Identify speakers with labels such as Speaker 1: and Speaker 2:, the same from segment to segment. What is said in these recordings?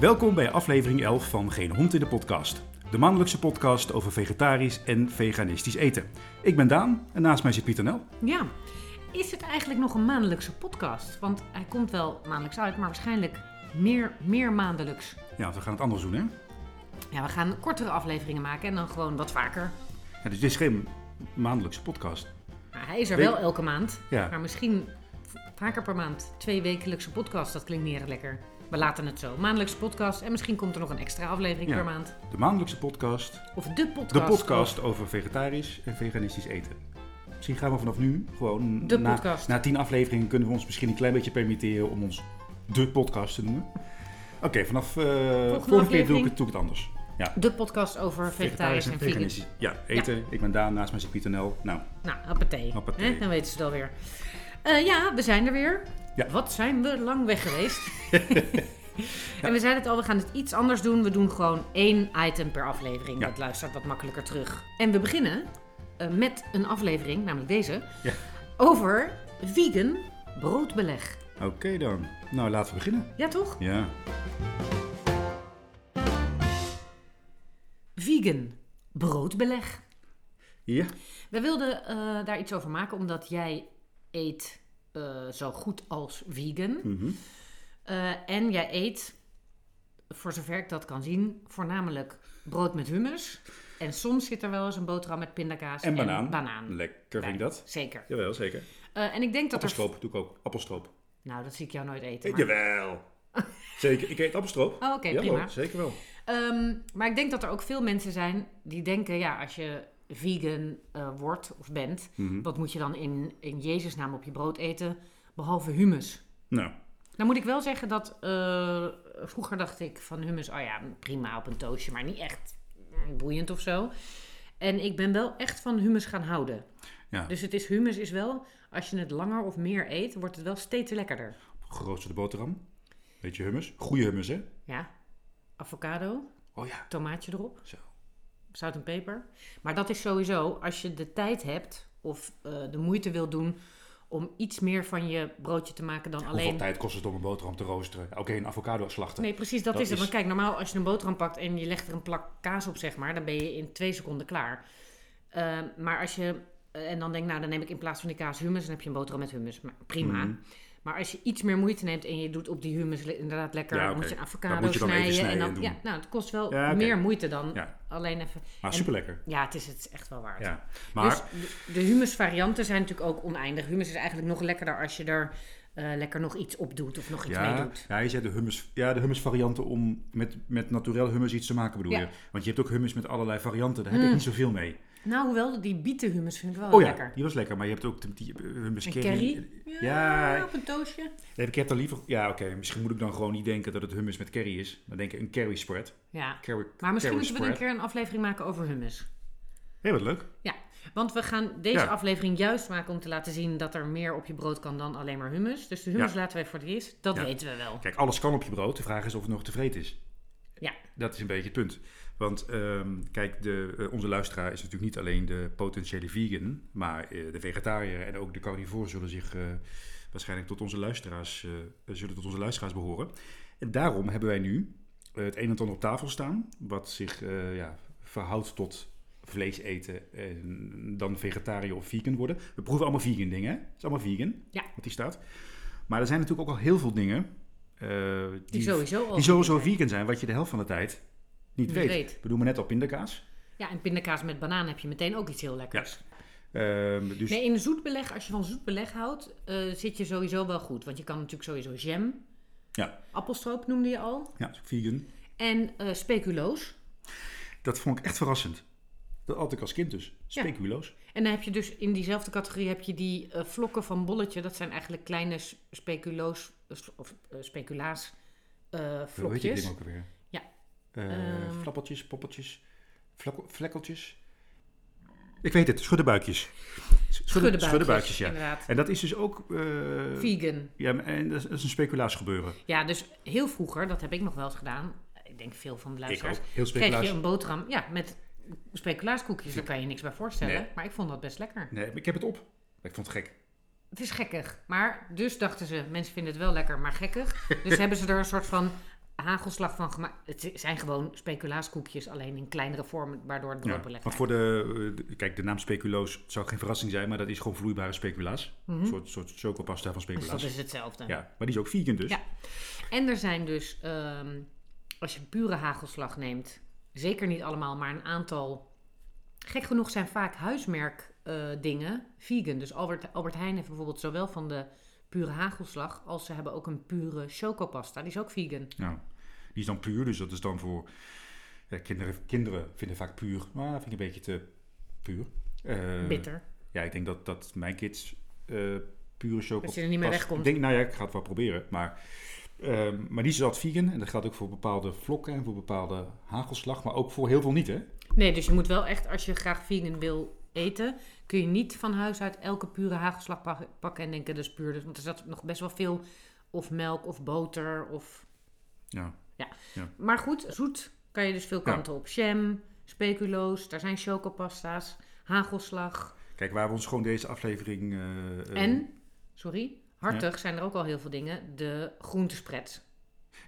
Speaker 1: Welkom bij aflevering 11 van Geen Hond in de Podcast. De maandelijkse podcast over vegetarisch en veganistisch eten. Ik ben Daan en naast mij zit Pieter Nel.
Speaker 2: Ja. Is het eigenlijk nog een maandelijkse podcast? Want hij komt wel maandelijks uit, maar waarschijnlijk meer, meer maandelijks.
Speaker 1: Ja, want we gaan het anders doen hè.
Speaker 2: Ja, we gaan kortere afleveringen maken en dan gewoon wat vaker.
Speaker 1: Ja, dus dit is geen maandelijkse podcast.
Speaker 2: Nou, hij is er
Speaker 1: Weet-
Speaker 2: wel elke maand,
Speaker 1: Ja.
Speaker 2: maar misschien v- vaker per maand. Twee wekelijkse podcast, dat klinkt niet erg lekker. We laten het zo. Maandelijkse podcast en misschien komt er nog een extra aflevering
Speaker 1: Ja.
Speaker 2: per maand.
Speaker 1: De maandelijkse podcast.
Speaker 2: Of de podcast.
Speaker 1: De podcast over vegetarisch en veganistisch eten. Misschien gaan we vanaf nu gewoon...
Speaker 2: De
Speaker 1: na,
Speaker 2: podcast.
Speaker 1: Na tien afleveringen kunnen we ons misschien een klein beetje permitteren om ons de podcast te noemen. Oké, vanaf eh vorige keer doe ik,
Speaker 2: aflevering.
Speaker 1: het, doe ik het anders.
Speaker 2: De podcast over vegetarisch en vegan.
Speaker 1: Ja, eten. Ik ben Daan, naast mij zit Pieter Nel. Nou,
Speaker 2: Nou, appetee.
Speaker 1: Hoppatee.
Speaker 2: Dan weten ze het alweer. Eh ja, we zijn er weer.
Speaker 1: Ja.
Speaker 2: Wat zijn we lang weg geweest. En we zeiden het al, we gaan het iets anders doen. We doen gewoon één item per aflevering.
Speaker 1: Ja.
Speaker 2: Dat luistert wat makkelijker terug. En we beginnen eh, met een aflevering, namelijk deze,
Speaker 1: Ja.
Speaker 2: over vegan broodbeleg.
Speaker 1: oké dan. Nou, laten we beginnen.
Speaker 2: Ja, toch?
Speaker 1: Ja.
Speaker 2: Vegan broodbeleg.
Speaker 1: Ja.
Speaker 2: We wilden eh, daar iets over maken, omdat jij eet eh, zo goed als vegan.
Speaker 1: Mhm.
Speaker 2: Eh, en jij eet, voor zover ik dat kan zien, voornamelijk brood met hummus. En soms zit er wel eens een boterham met pindakaas
Speaker 1: En banaan.
Speaker 2: banaan.
Speaker 1: Lekker vind ik
Speaker 2: bij.
Speaker 1: dat.
Speaker 2: Zeker.
Speaker 1: Jawel, zeker.
Speaker 2: Eh, en ik denk dat er...
Speaker 1: Appelstroop doe ik ook. Appelstroop.
Speaker 2: Nou, dat zie ik jou nooit eten.
Speaker 1: Eh,
Speaker 2: Maar,
Speaker 1: Jawel. Zeker. Ik eet appelstroop.
Speaker 2: Oh, oké,
Speaker 1: Jawel,
Speaker 2: prima.
Speaker 1: Zeker wel.
Speaker 2: Ehm, maar ik denk dat er ook veel mensen zijn die denken, ja, als je vegan eh, wordt of bent,
Speaker 1: Mhm.
Speaker 2: wat moet je dan in, in Jezus naam op je brood eten, behalve hummus?
Speaker 1: Nou,
Speaker 2: Nou moet ik wel zeggen dat eh, vroeger dacht ik van hummus, oh ja, prima op een toastje, maar niet echt mm, boeiend of zo. En ik ben wel echt van hummus gaan houden.
Speaker 1: Ja.
Speaker 2: Dus het is hummus is wel, als je het langer of meer eet, wordt het wel steeds lekkerder.
Speaker 1: geroosterde boterham. Beetje hummus. Goeie hummus, hè?
Speaker 2: Ja, avocado,
Speaker 1: Oh ja.
Speaker 2: tomaatje erop.
Speaker 1: Zo.
Speaker 2: Zout en peper. Maar dat is sowieso, als je de tijd hebt of eh, de moeite wil doen om iets meer van je broodje te maken dan alleen.
Speaker 1: Hoeveel tijd kost het om een boterham te roosteren? Oké, een avocado slachten.
Speaker 2: Nee, precies, dat,
Speaker 1: Dat
Speaker 2: is het.
Speaker 1: is-
Speaker 2: Want kijk, normaal als je een boterham pakt en je legt er een plak kaas op, zeg maar, dan ben je in twee seconden klaar. Ehm, maar als je, eh, en dan denk nou, dan neem ik in plaats van die kaas hummus, dan heb je een boterham met hummus. Maar prima.
Speaker 1: Mhm.
Speaker 2: Maar als je iets meer moeite neemt en je doet op die hummus le- inderdaad lekker,
Speaker 1: Ja,
Speaker 2: dan moet
Speaker 1: oké.
Speaker 2: je een avocado
Speaker 1: Dat moet je dan even
Speaker 2: snijden. en
Speaker 1: snijden en
Speaker 2: dan,
Speaker 1: doen.
Speaker 2: Ja, nou, het kost wel
Speaker 1: Ja, oké.
Speaker 2: meer moeite dan
Speaker 1: Ja.
Speaker 2: alleen even.
Speaker 1: Maar
Speaker 2: En-
Speaker 1: superlekker.
Speaker 2: Ja, het is, het is echt wel waard.
Speaker 1: Ja. Maar
Speaker 2: Dus de- de humusvarianten zijn natuurlijk ook oneindig. Humus is eigenlijk nog lekkerder als je er eh, lekker nog iets op doet of nog iets mee
Speaker 1: Ja,
Speaker 2: doet.
Speaker 1: ja, je zei de hummus, ja, de hummus varianten om met, met naturel hummus iets te maken bedoel
Speaker 2: Ja.
Speaker 1: je. Want je hebt ook hummus met allerlei varianten, daar heb ik niet zoveel mee.
Speaker 2: Nou, hoewel, die bietenhummus vind ik wel
Speaker 1: oh ja,
Speaker 2: lekker.
Speaker 1: die was lekker, maar je hebt ook de, die eh, hummus
Speaker 2: En
Speaker 1: curry.
Speaker 2: curry?
Speaker 1: Ja,
Speaker 2: op een toastje.
Speaker 1: Nee, ik heb dan liever, ja oké, misschien moet ik dan gewoon niet denken dat het hummus met curry is. Dan denk ik een curry spread.
Speaker 2: Ja.
Speaker 1: Curry,
Speaker 2: Maar
Speaker 1: curry
Speaker 2: misschien moeten we een
Speaker 1: spread.
Speaker 2: keer een aflevering maken over hummus.
Speaker 1: Heel wat leuk.
Speaker 2: Ja, want we gaan deze
Speaker 1: Ja.
Speaker 2: aflevering juist maken om te laten zien dat er meer op je brood kan dan alleen maar hummus. Dus de hummus
Speaker 1: Ja.
Speaker 2: laten wij voor de eerst. Dat
Speaker 1: Ja.
Speaker 2: weten we wel.
Speaker 1: Kijk, alles kan op je brood, de vraag is of het nog tevreden is.
Speaker 2: Ja.
Speaker 1: Dat is een beetje het punt. Want ehm, kijk, de, eh, onze luisteraar is natuurlijk niet alleen de potentiële vegan, maar eh, de vegetariër en ook de carnivore zullen zich eh, waarschijnlijk tot onze luisteraars, eh, zullen tot onze luisteraars behoren. En daarom hebben wij nu eh, het een en het ander op tafel staan, wat zich eh, ja, verhoudt tot vlees eten en dan vegetariër of vegan worden. We proeven allemaal vegan dingen, hè? Het is allemaal vegan,
Speaker 2: Ja.
Speaker 1: wat die staat. Maar er zijn natuurlijk ook al heel veel dingen eh,
Speaker 2: Die sowieso al.
Speaker 1: die sowieso vegan zijn, wat je de helft van de tijd niet,
Speaker 2: Niet
Speaker 1: weet.
Speaker 2: weet.
Speaker 1: We doen maar net al pindakaas.
Speaker 2: Ja, en pindakaas met banaan heb je meteen ook iets heel lekkers.
Speaker 1: Ehm, dus
Speaker 2: Nee, in een zoet beleg, als je van zoet beleg houdt, eh, zit je sowieso wel goed. Want je kan natuurlijk sowieso jam.
Speaker 1: Ja.
Speaker 2: Appelstroop noemde je al.
Speaker 1: ja, vegan.
Speaker 2: En eh, speculoos.
Speaker 1: Dat vond ik echt verrassend. Dat had ik als kind dus. Speculoos.
Speaker 2: En dan heb je dus in diezelfde categorie heb je die eh, vlokken van bolletje. Dat zijn eigenlijk kleine s- speculoos of eh, speculaas eh,
Speaker 1: Hoe heet die
Speaker 2: vlokjes.
Speaker 1: ding ook alweer?
Speaker 2: Ja.
Speaker 1: Eh,
Speaker 2: Ehm.
Speaker 1: Flappeltjes, poppeltjes, flakkel- vlekkeltjes. Ik weet het, schuddebuikjes.
Speaker 2: Schuddebuikjes,
Speaker 1: schuddebuikjes, ja.
Speaker 2: inderdaad.
Speaker 1: En dat is dus ook... eh,
Speaker 2: Vegan.
Speaker 1: ja, en dat is, dat is een speculaas gebeuren.
Speaker 2: Ja, dus heel vroeger, dat heb ik nog wel eens gedaan. Ik denk veel van de
Speaker 1: Ik
Speaker 2: luisteraars.
Speaker 1: ook. Heel
Speaker 2: Kreeg je
Speaker 1: speculaas.
Speaker 2: een boterham ja, met speculaaskoekjes. Daar kan je niks bij voorstellen.
Speaker 1: Nee.
Speaker 2: Maar ik vond dat best lekker.
Speaker 1: Nee, ik heb het op. Ik vond het gek.
Speaker 2: Het is gekkig. Maar dus dachten ze, mensen vinden het wel lekker, maar gekkig. Dus hebben ze er een soort van hagelslag van gemaakt. Het zijn gewoon speculaaskoekjes, alleen in kleinere vorm, waardoor het Dus
Speaker 1: Ja,
Speaker 2: brood belegd
Speaker 1: want voor de, eh, de- kijk, de naam speculoos zou geen verrassing zijn, maar dat is gewoon vloeibare speculaas. Een soort, soort chocopasta van
Speaker 2: Dus Mhm. dat
Speaker 1: speculaas.
Speaker 2: is hetzelfde.
Speaker 1: Ja, maar die is ook vegan dus.
Speaker 2: Ja. En er zijn dus, ehm, als je pure hagelslag neemt, zeker niet allemaal, maar een aantal. Gek genoeg zijn vaak huismerkdingen dingen vegan. Dus Albert, Albert Heijn heeft bijvoorbeeld zowel van de pure hagelslag als ze hebben ook een pure chocopasta. Die is ook vegan.
Speaker 1: Nou, die is dan puur, dus dat is dan voor ja, kinderen. Kinderen vinden vaak puur, maar vind ik een beetje te puur. Eh,
Speaker 2: Bitter.
Speaker 1: Ja, ik denk dat, dat mijn kids eh, pure chocolade...
Speaker 2: Dat je er niet meer wegkomt.
Speaker 1: Ik denk, nou ja, ik ga het wel proberen. Maar, ehm, maar die is dat vegan. En dat geldt ook voor bepaalde vlokken en voor bepaalde hagelslag. Maar ook voor heel veel niet, hè?
Speaker 2: Nee, dus je moet wel echt, als je graag vegan wil eten, kun je niet van huis uit elke pure hagelslag pa- pakken en denken, dat is puur. Dus- Want er zat nog best wel veel, of melk, of boter, of...
Speaker 1: Ja.
Speaker 2: Maar goed, zoet kan je dus veel kanten op. Jam, speculoos, daar zijn chocopasta's, hagelslag
Speaker 1: Kijk, waar we ons gewoon deze aflevering... eh, eh,
Speaker 2: en, sorry, hartig zijn er ook al heel veel dingen, de groentespread.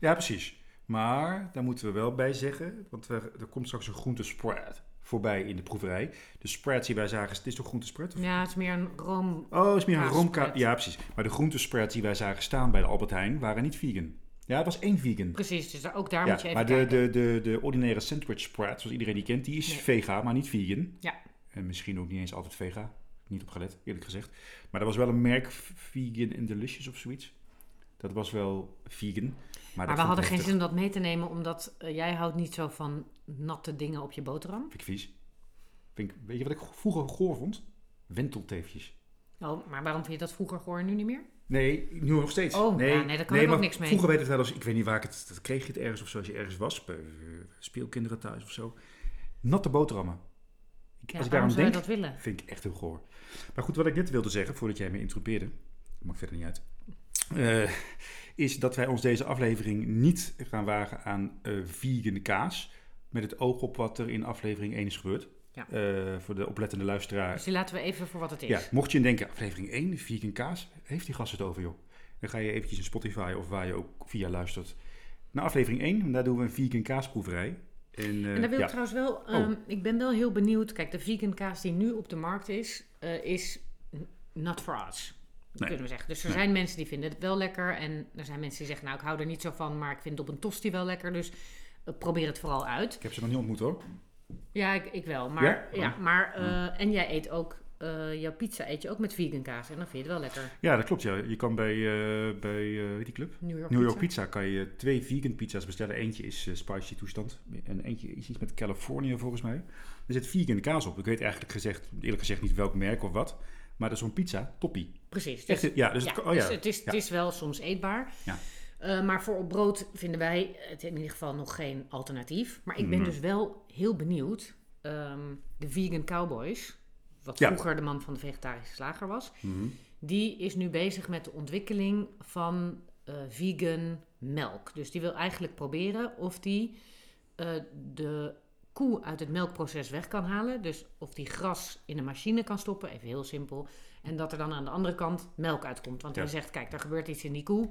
Speaker 1: Ja, precies. Maar daar moeten we wel bij zeggen, want er, er komt straks een groentespread voorbij in de proeverij. De spreads die wij zagen, het is toch groentespread? Of
Speaker 2: Ja, het is meer een room...
Speaker 1: Oh, is meer een
Speaker 2: Kaasspread.
Speaker 1: roomkaas. Ja, precies. Maar de groentespreads die wij zagen staan bij de Albert Heijn waren niet vegan. Ja, het was één vegan.
Speaker 2: Precies, dus daar, ook daar moet je
Speaker 1: Ja,
Speaker 2: even
Speaker 1: maar de,
Speaker 2: kijken.
Speaker 1: de, de, de ordinaire sandwich spread, zoals iedereen die kent, die is
Speaker 2: Nee.
Speaker 1: vega, maar niet vegan.
Speaker 2: Ja.
Speaker 1: En misschien ook niet eens altijd vega. Niet op gelet, eerlijk gezegd. Maar er was wel een merk, Vegan and Delicious of zoiets. Dat was wel vegan. Maar,
Speaker 2: Maar we hadden geen zin om dat mee te nemen, omdat eh, jij houdt niet zo van natte dingen op je boterham.
Speaker 1: Vind ik vies. Vind ik, weet je wat ik vroeger goor vond? Wentelteefjes.
Speaker 2: Oh, maar waarom vind je dat vroeger goor en nu niet meer?
Speaker 1: Nee, nu nog steeds.
Speaker 2: Oh, ja, nee, daar kan ik ook
Speaker 1: maar
Speaker 2: niks mee.
Speaker 1: Vroeger weet het wel eens, ik weet niet waar ik het, dat kreeg je het ergens of zo, als je ergens was, bij, eh, speelkinderen thuis of zo. Natte boterhammen.
Speaker 2: Ja,
Speaker 1: als ik daaraan
Speaker 2: waarom zou je
Speaker 1: denk,
Speaker 2: dat willen?
Speaker 1: vind ik echt heel goor. Maar goed, wat ik net wilde zeggen, voordat jij me interrompeerde, maakt verder niet uit, eh, is dat wij ons deze aflevering niet gaan wagen aan eh vegan kaas, met het oog op wat er in aflevering 1 is gebeurd.
Speaker 2: Ja.
Speaker 1: Eh, voor de oplettende luisteraar
Speaker 2: Dus die laten we even voor wat het is.
Speaker 1: ja, Eh, mocht je denken, aflevering 1, vegan kaas, heeft die gast het over, joh. Dan ga je eventjes in Spotify of waar je ook via luistert naar aflevering 1. En daar doen we een vegan kaasproeverij. En, eh,
Speaker 2: En daar wil
Speaker 1: ja,
Speaker 2: ik trouwens wel, ehm, ik ben wel heel benieuwd. Kijk, de vegan kaas die nu op de markt is, eh, is n- not for us. Dat
Speaker 1: Nee.
Speaker 2: kunnen we zeggen. Dus er
Speaker 1: Nee.
Speaker 2: zijn mensen die vinden het wel lekker. En er zijn mensen die zeggen, nou ik hou er niet zo van, maar ik vind het op een tosti wel lekker. Dus eh, probeer het vooral uit.
Speaker 1: Ik heb ze nog niet ontmoet, hoor.
Speaker 2: Ja, ik, ik wel. Maar,
Speaker 1: Ja? Oh.
Speaker 2: ja? maar, eh, en jij eet ook, eh, jouw pizza eet je ook met vegan kaas. En dan vind je het wel lekker.
Speaker 1: Ja, dat klopt, ja. Je kan bij, eh, bij eh, weet die club?
Speaker 2: New York,
Speaker 1: New York
Speaker 2: pizza.
Speaker 1: Pizza kan je twee vegan pizza's bestellen. Eentje is eh, spicy toestand en eentje is iets met California volgens mij. Er zit vegan kaas op. Ik weet eigenlijk gezegd, eerlijk gezegd niet welk merk of wat. Maar dat is zo'n pizza, toppie.
Speaker 2: Precies. Dus
Speaker 1: Echt, ja, dus
Speaker 2: ja,
Speaker 1: het, oh,
Speaker 2: dus
Speaker 1: ja.
Speaker 2: het, is, het is wel soms eetbaar.
Speaker 1: Ja.
Speaker 2: Eh, maar voor op brood vinden wij het in ieder geval nog geen alternatief. Maar ik ben
Speaker 1: Nee.
Speaker 2: dus wel heel benieuwd. ehm, de Vegan Cowboys, wat
Speaker 1: Ja.
Speaker 2: vroeger de man van de vegetarische slager was,
Speaker 1: Mhm.
Speaker 2: die is nu bezig met de ontwikkeling van eh, vegan melk. Dus die wil eigenlijk proberen of die eh, de koe uit het melkproces weg kan halen. Dus of die gras in een machine kan stoppen, even heel simpel. En dat er dan aan de andere kant melk uitkomt. Want
Speaker 1: Ja.
Speaker 2: hij zegt, kijk, er gebeurt iets in die koe.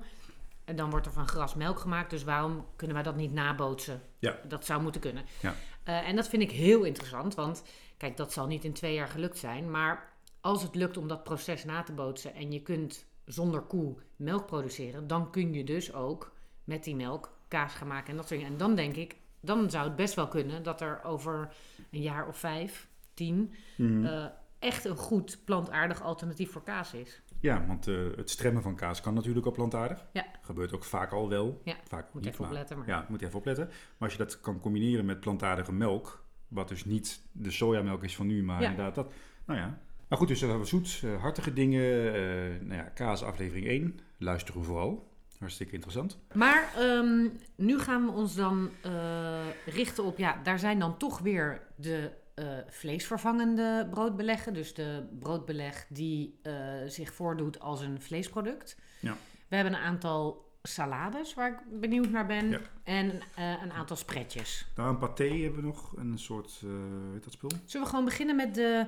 Speaker 2: En dan wordt er van gras melk gemaakt. Dus waarom kunnen wij dat niet nabootsen?
Speaker 1: Ja.
Speaker 2: Dat zou moeten kunnen.
Speaker 1: Ja.
Speaker 2: Eh, en dat vind ik heel interessant. Want kijk, dat zal niet in twee jaar gelukt zijn. Maar als het lukt om dat proces na te bootsen en je kunt zonder koe melk produceren, dan kun je dus ook met die melk kaas gaan maken en dat soort dingen. En dan denk ik, dan zou het best wel kunnen dat er over een jaar of vijf, tien,
Speaker 1: Mhm.
Speaker 2: eh, echt een goed plantaardig alternatief voor kaas is.
Speaker 1: Ja, want eh, het stremmen van kaas kan natuurlijk al plantaardig.
Speaker 2: Ja.
Speaker 1: Gebeurt ook vaak al wel.
Speaker 2: Ja,
Speaker 1: Vaak ook
Speaker 2: Moet
Speaker 1: niet,
Speaker 2: even
Speaker 1: maar-
Speaker 2: opletten. Maar.
Speaker 1: Ja, moet je even opletten. Maar als je dat kan combineren met plantaardige melk, wat dus niet de sojamelk is van nu, maar
Speaker 2: Ja.
Speaker 1: inderdaad dat. Nou ja. Maar goed, dus dat hebben we zoet, eh, hartige dingen. eh nou ja, kaas aflevering 1. Luisteren we vooral. Hartstikke interessant.
Speaker 2: Maar ehm, nu gaan we ons dan eh, richten op, ja, daar zijn dan toch weer de eh, vleesvervangende broodbeleggen. Dus de broodbeleg die eh, zich voordoet als een vleesproduct.
Speaker 1: Ja.
Speaker 2: We hebben een aantal salades waar ik benieuwd naar ben.
Speaker 1: Ja.
Speaker 2: En eh, een aantal spretjes.
Speaker 1: Daar een paté hebben we nog. Een soort, eh, hoe heet dat spul?
Speaker 2: Zullen we gewoon beginnen met de,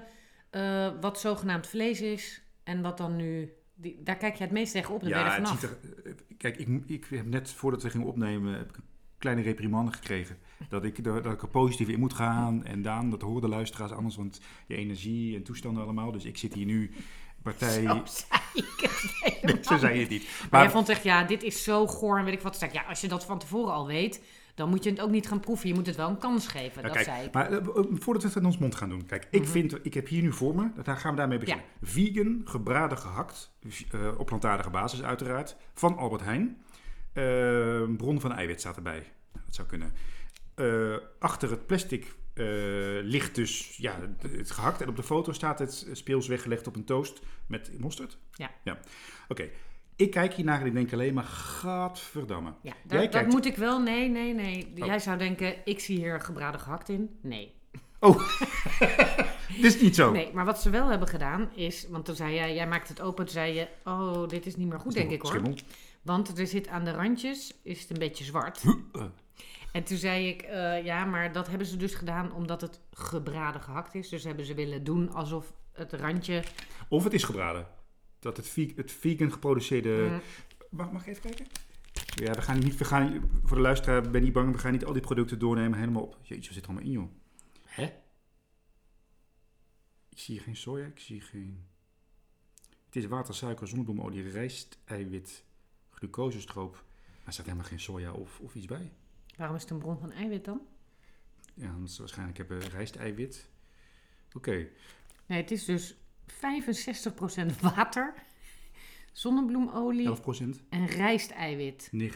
Speaker 2: eh, wat zogenaamd vlees is en wat dan nu... Die, daar kijk je het meest tegen op, daar ben je er
Speaker 1: het
Speaker 2: vanaf.
Speaker 1: ziet er, eh, kijk, ik, ik heb net voordat we gingen opnemen, heb ik een kleine reprimande gekregen. Dat ik, er- dat ik er positief in moet gaan. En Daan, dat horen de luisteraars anders, want je energie en toestanden allemaal. Dus ik zit hier nu partij...
Speaker 2: Zo zei ik het helemaal
Speaker 1: Zo zei je het niet.
Speaker 2: Maar jij vond echt, ja, dit is zo goor en weet ik wat. Zeg, ja, als je dat van tevoren al weet, dan moet je het ook niet gaan proeven. Je moet het wel een kans
Speaker 1: Ja,
Speaker 2: geven. dat
Speaker 1: kijk,
Speaker 2: zei ik. Mhm.
Speaker 1: Maar eh, eh, voordat we het in ons mond gaan doen. Kijk, ik, vind, ik heb hier nu voor me, daar gaan we daarmee beginnen. Vegan, gebraden gehakt, v- eh, op plantaardige basis uiteraard, van Albert Heijn. Eh, bron van eiwit staat erbij. Nou, Dat zou kunnen. Eh, achter het plastic eh, ligt dus ja, het- het gehakt. En op de foto staat het eh, speels weggelegd op een toast met mosterd.
Speaker 2: Ja.
Speaker 1: ja. Oké. Ik kijk hiernaar en ik denk alleen maar, gadverdamme.
Speaker 2: Ja,
Speaker 1: Jij
Speaker 2: daar- dat
Speaker 1: kijkt-
Speaker 2: moet ik wel. Nee, nee, nee.
Speaker 1: Oh.
Speaker 2: Jij zou denken, ik zie hier gebraden gehakt in. Nee.
Speaker 1: Dit is niet zo.
Speaker 2: Nee, maar wat ze wel hebben gedaan is, want toen zei jij, jij maakt het open, toen zei je, oh, dit is niet meer goed, denk ik hoor.
Speaker 1: Schimmel.
Speaker 2: Want er zit aan de randjes, is het een beetje zwart.
Speaker 1: Eh,
Speaker 2: En toen zei ik, eh, ja, maar dat hebben ze dus gedaan omdat het gebraden gehakt is. Dus hebben ze willen doen alsof het randje...
Speaker 1: Of het is gebraden. Dat het, ve- het vegan geproduceerde.
Speaker 2: Mm.
Speaker 1: Mag, mag ik even kijken? Ja, we gaan niet. We gaan, voor de luisteraar, ben niet bang. We gaan niet al die producten doornemen helemaal op. Jeetje, wat zit er allemaal in, joh?
Speaker 2: Hè?
Speaker 1: Ik zie hier geen soja, ik zie geen. Het is water, suiker, zonnebloemolie, rijst, eiwit, glucosestroop. Maar er staat helemaal geen soja of, of iets bij.
Speaker 2: Waarom is het een bron van eiwit dan?
Speaker 1: Ja, want ze waarschijnlijk hebben rijsteiwit. Oké.
Speaker 2: Nee, het is dus 65% water, zonnebloemolie
Speaker 1: 11%,
Speaker 2: en rijsteiwit.
Speaker 1: 9,9%.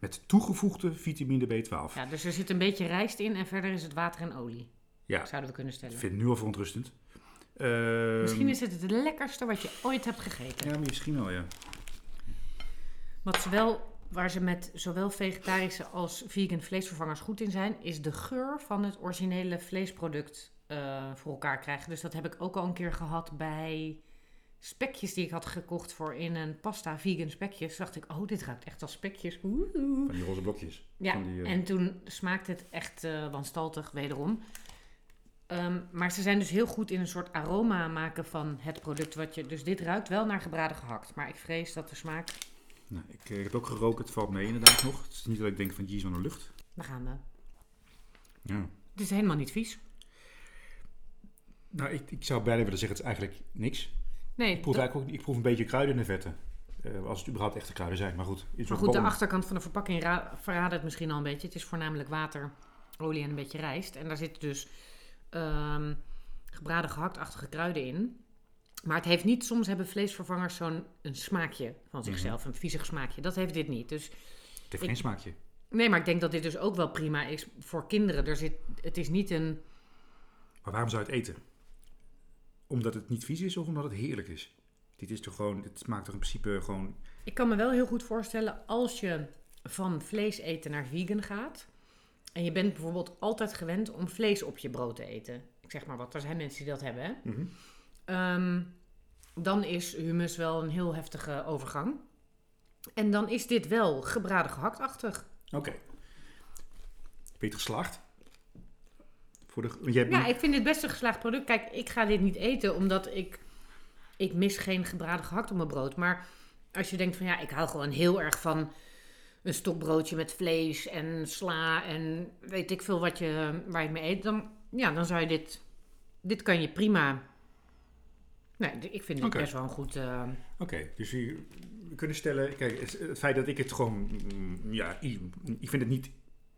Speaker 1: Met toegevoegde vitamine B12.
Speaker 2: Ja, dus er zit een beetje rijst in en verder is het water en olie.
Speaker 1: Ja.
Speaker 2: Zouden we kunnen stellen.
Speaker 1: Ik vind het nu al verontrustend. Ehm,
Speaker 2: Misschien is het het lekkerste wat je ooit hebt gegeten.
Speaker 1: Ja, misschien wel, ja.
Speaker 2: Wat ze wel, waar ze met zowel vegetarische als vegan vleesvervangers goed in zijn, is de geur van het originele vleesproduct eh, voor elkaar krijgen. Dus dat heb ik ook al een keer gehad bij spekjes die ik had gekocht voor in een pasta, vegan spekjes. Dacht ik, oh, dit ruikt echt als spekjes. Oeh.
Speaker 1: Van die roze blokjes.
Speaker 2: Ja,
Speaker 1: Van die, eh,
Speaker 2: en toen smaakte het echt eh, wanstaltig wederom. Ehm, maar ze zijn dus heel goed in een soort aroma maken van het product. Wat je, dus dit ruikt wel naar gebraden gehakt. Maar ik vrees dat de smaak...
Speaker 1: Nou, ik, eh, heb ook gerookt, het valt mee inderdaad nog. Het is niet dat ik denk van, jeez, wat een lucht.
Speaker 2: Daar gaan we.
Speaker 1: Ja.
Speaker 2: Het is helemaal niet vies.
Speaker 1: Nou, ik, ik zou bijna willen zeggen, het is eigenlijk niks.
Speaker 2: Nee,
Speaker 1: Ik proef,
Speaker 2: dat-
Speaker 1: eigenlijk ook, ik proef een beetje kruiden in de vetten. Eh, als het überhaupt echte kruiden zijn, maar goed. in zo'n
Speaker 2: maar goed, de
Speaker 1: ballon.
Speaker 2: achterkant van de verpakking ra- verraadt het misschien al een beetje. Het is voornamelijk water, olie en een beetje rijst. En daar zitten dus ehm, gebraden gehaktachtige kruiden in. Maar het heeft niet, soms hebben vleesvervangers zo'n een smaakje van
Speaker 1: Mhm.
Speaker 2: zichzelf, een viezig smaakje. Dat heeft dit niet. Dus
Speaker 1: Het heeft
Speaker 2: ik-
Speaker 1: geen smaakje.
Speaker 2: nee, maar ik denk dat dit dus ook wel prima is voor kinderen. Er zit, het is niet een.
Speaker 1: Maar waarom zou je het eten? Omdat het niet vies is of omdat het heerlijk is? Dit is toch gewoon, het smaakt toch in principe gewoon...
Speaker 2: Ik kan me wel heel goed voorstellen als je van vlees eten naar vegan gaat. En je bent bijvoorbeeld altijd gewend om vlees op je brood te eten. Ik zeg maar wat, er zijn mensen die dat hebben. Hè?
Speaker 1: Mhm.
Speaker 2: Ehm, dan is hummus wel een heel heftige overgang. En dan is dit wel gebraden gehaktachtig.
Speaker 1: Oké. Ben je het geslaagd? Voor de, want jij hebt
Speaker 2: Ja, ik vind dit best een geslaagd product. Kijk, ik ga dit niet eten omdat ik... Ik mis geen gebraden gehakt op mijn brood. Maar als je denkt van ja, ik hou gewoon heel erg van een stokbroodje met vlees en sla en weet ik veel wat je, waar je mee eet. Dan, ja, dan zou je dit... Dit kan je prima... Nee, ik vind dit
Speaker 1: Oké.
Speaker 2: best wel een goed... eh,
Speaker 1: Oké, dus u- we kunnen stellen, kijk, het, het feit dat ik het gewoon, mm, ja, i- ik vind het niet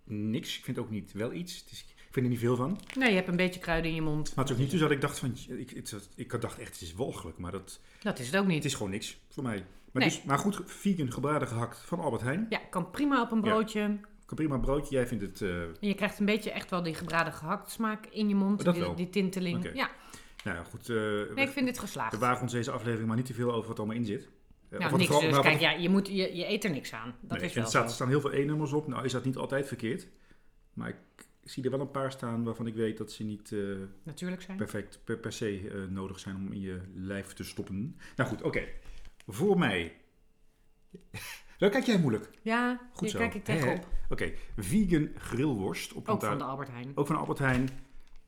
Speaker 1: niks, ik vind het ook niet wel iets, Het is- ik vind er niet veel van. Maar
Speaker 2: Nee, je hebt een beetje kruiden in je mond.
Speaker 1: het is ook niet dus dat ik dacht van, ik, het, ik had dacht echt, het is walgelijk, maar dat,
Speaker 2: Dat is het ook
Speaker 1: het
Speaker 2: niet.
Speaker 1: is gewoon niks voor mij. Maar,
Speaker 2: Nee.
Speaker 1: dus, maar goed, vegan gebraden gehakt van Albert Heijn,
Speaker 2: Ja, kan prima op een
Speaker 1: Ja.
Speaker 2: broodje.
Speaker 1: kan prima broodje, jij vindt het, eh,
Speaker 2: En je krijgt een beetje echt wel die gebraden gehakt smaak in je mond.
Speaker 1: Oh, dat
Speaker 2: die,
Speaker 1: wel.
Speaker 2: die tinteling.
Speaker 1: Oké.
Speaker 2: Ja,
Speaker 1: nou ja, goed, eh,
Speaker 2: nee, ik
Speaker 1: we,
Speaker 2: vind dit
Speaker 1: we
Speaker 2: geslaagd.
Speaker 1: wagen ons deze aflevering maar niet te veel over wat er allemaal in zit. Eh, of
Speaker 2: nou,
Speaker 1: wat
Speaker 2: niks
Speaker 1: vooral-
Speaker 2: dus.
Speaker 1: maar wat-
Speaker 2: Kijk, ja, je, moet, je, je eet er niks aan. Dat
Speaker 1: Nee,
Speaker 2: is
Speaker 1: en
Speaker 2: wel
Speaker 1: er staat- er
Speaker 2: zo.
Speaker 1: staan heel veel E-nummers op. Nou is dat niet altijd verkeerd. Maar ik zie er wel een paar staan waarvan ik weet dat ze niet eh,
Speaker 2: Natuurlijk zijn.
Speaker 1: perfect per, per se eh, nodig zijn om in je lijf te stoppen. Nou goed, oké. Voor mij. Daar kijk jij moeilijk. Oké,
Speaker 2: Ja,
Speaker 1: Goed
Speaker 2: hier
Speaker 1: zo.
Speaker 2: kijk ik
Speaker 1: Hè, hè.
Speaker 2: tegenop.
Speaker 1: vegan grillworst. Op
Speaker 2: Ook
Speaker 1: plantaar-
Speaker 2: van de Albert Heijn.
Speaker 1: ook van Albert Heijn.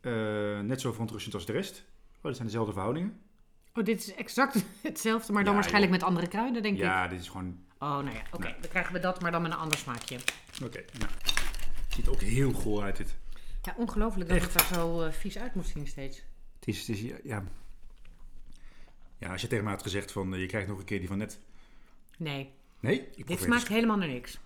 Speaker 1: Eh, net zo verontrustend als de rest. Oh, dat zijn dezelfde verhoudingen.
Speaker 2: Oh, dit is exact hetzelfde, maar dan
Speaker 1: Ja,
Speaker 2: waarschijnlijk met andere kruiden, denk ik.
Speaker 1: Ja, dit is gewoon...
Speaker 2: Oh, nou ja, oké. Dan krijgen we dat, maar dan met een ander smaakje.
Speaker 1: Oké, nou. Ziet ook heel goor uit dit.
Speaker 2: Ja, ongelooflijk dat
Speaker 1: Echt.
Speaker 2: het er zo eh, vies uit moet zien steeds.
Speaker 1: Het is, het is ja, ja. Ja, als je tegen mij had gezegd van, eh, je krijgt nog een keer die van net.
Speaker 2: Nee,
Speaker 1: Nee? Ik probeer
Speaker 2: dit
Speaker 1: dus-
Speaker 2: smaakt helemaal naar niks.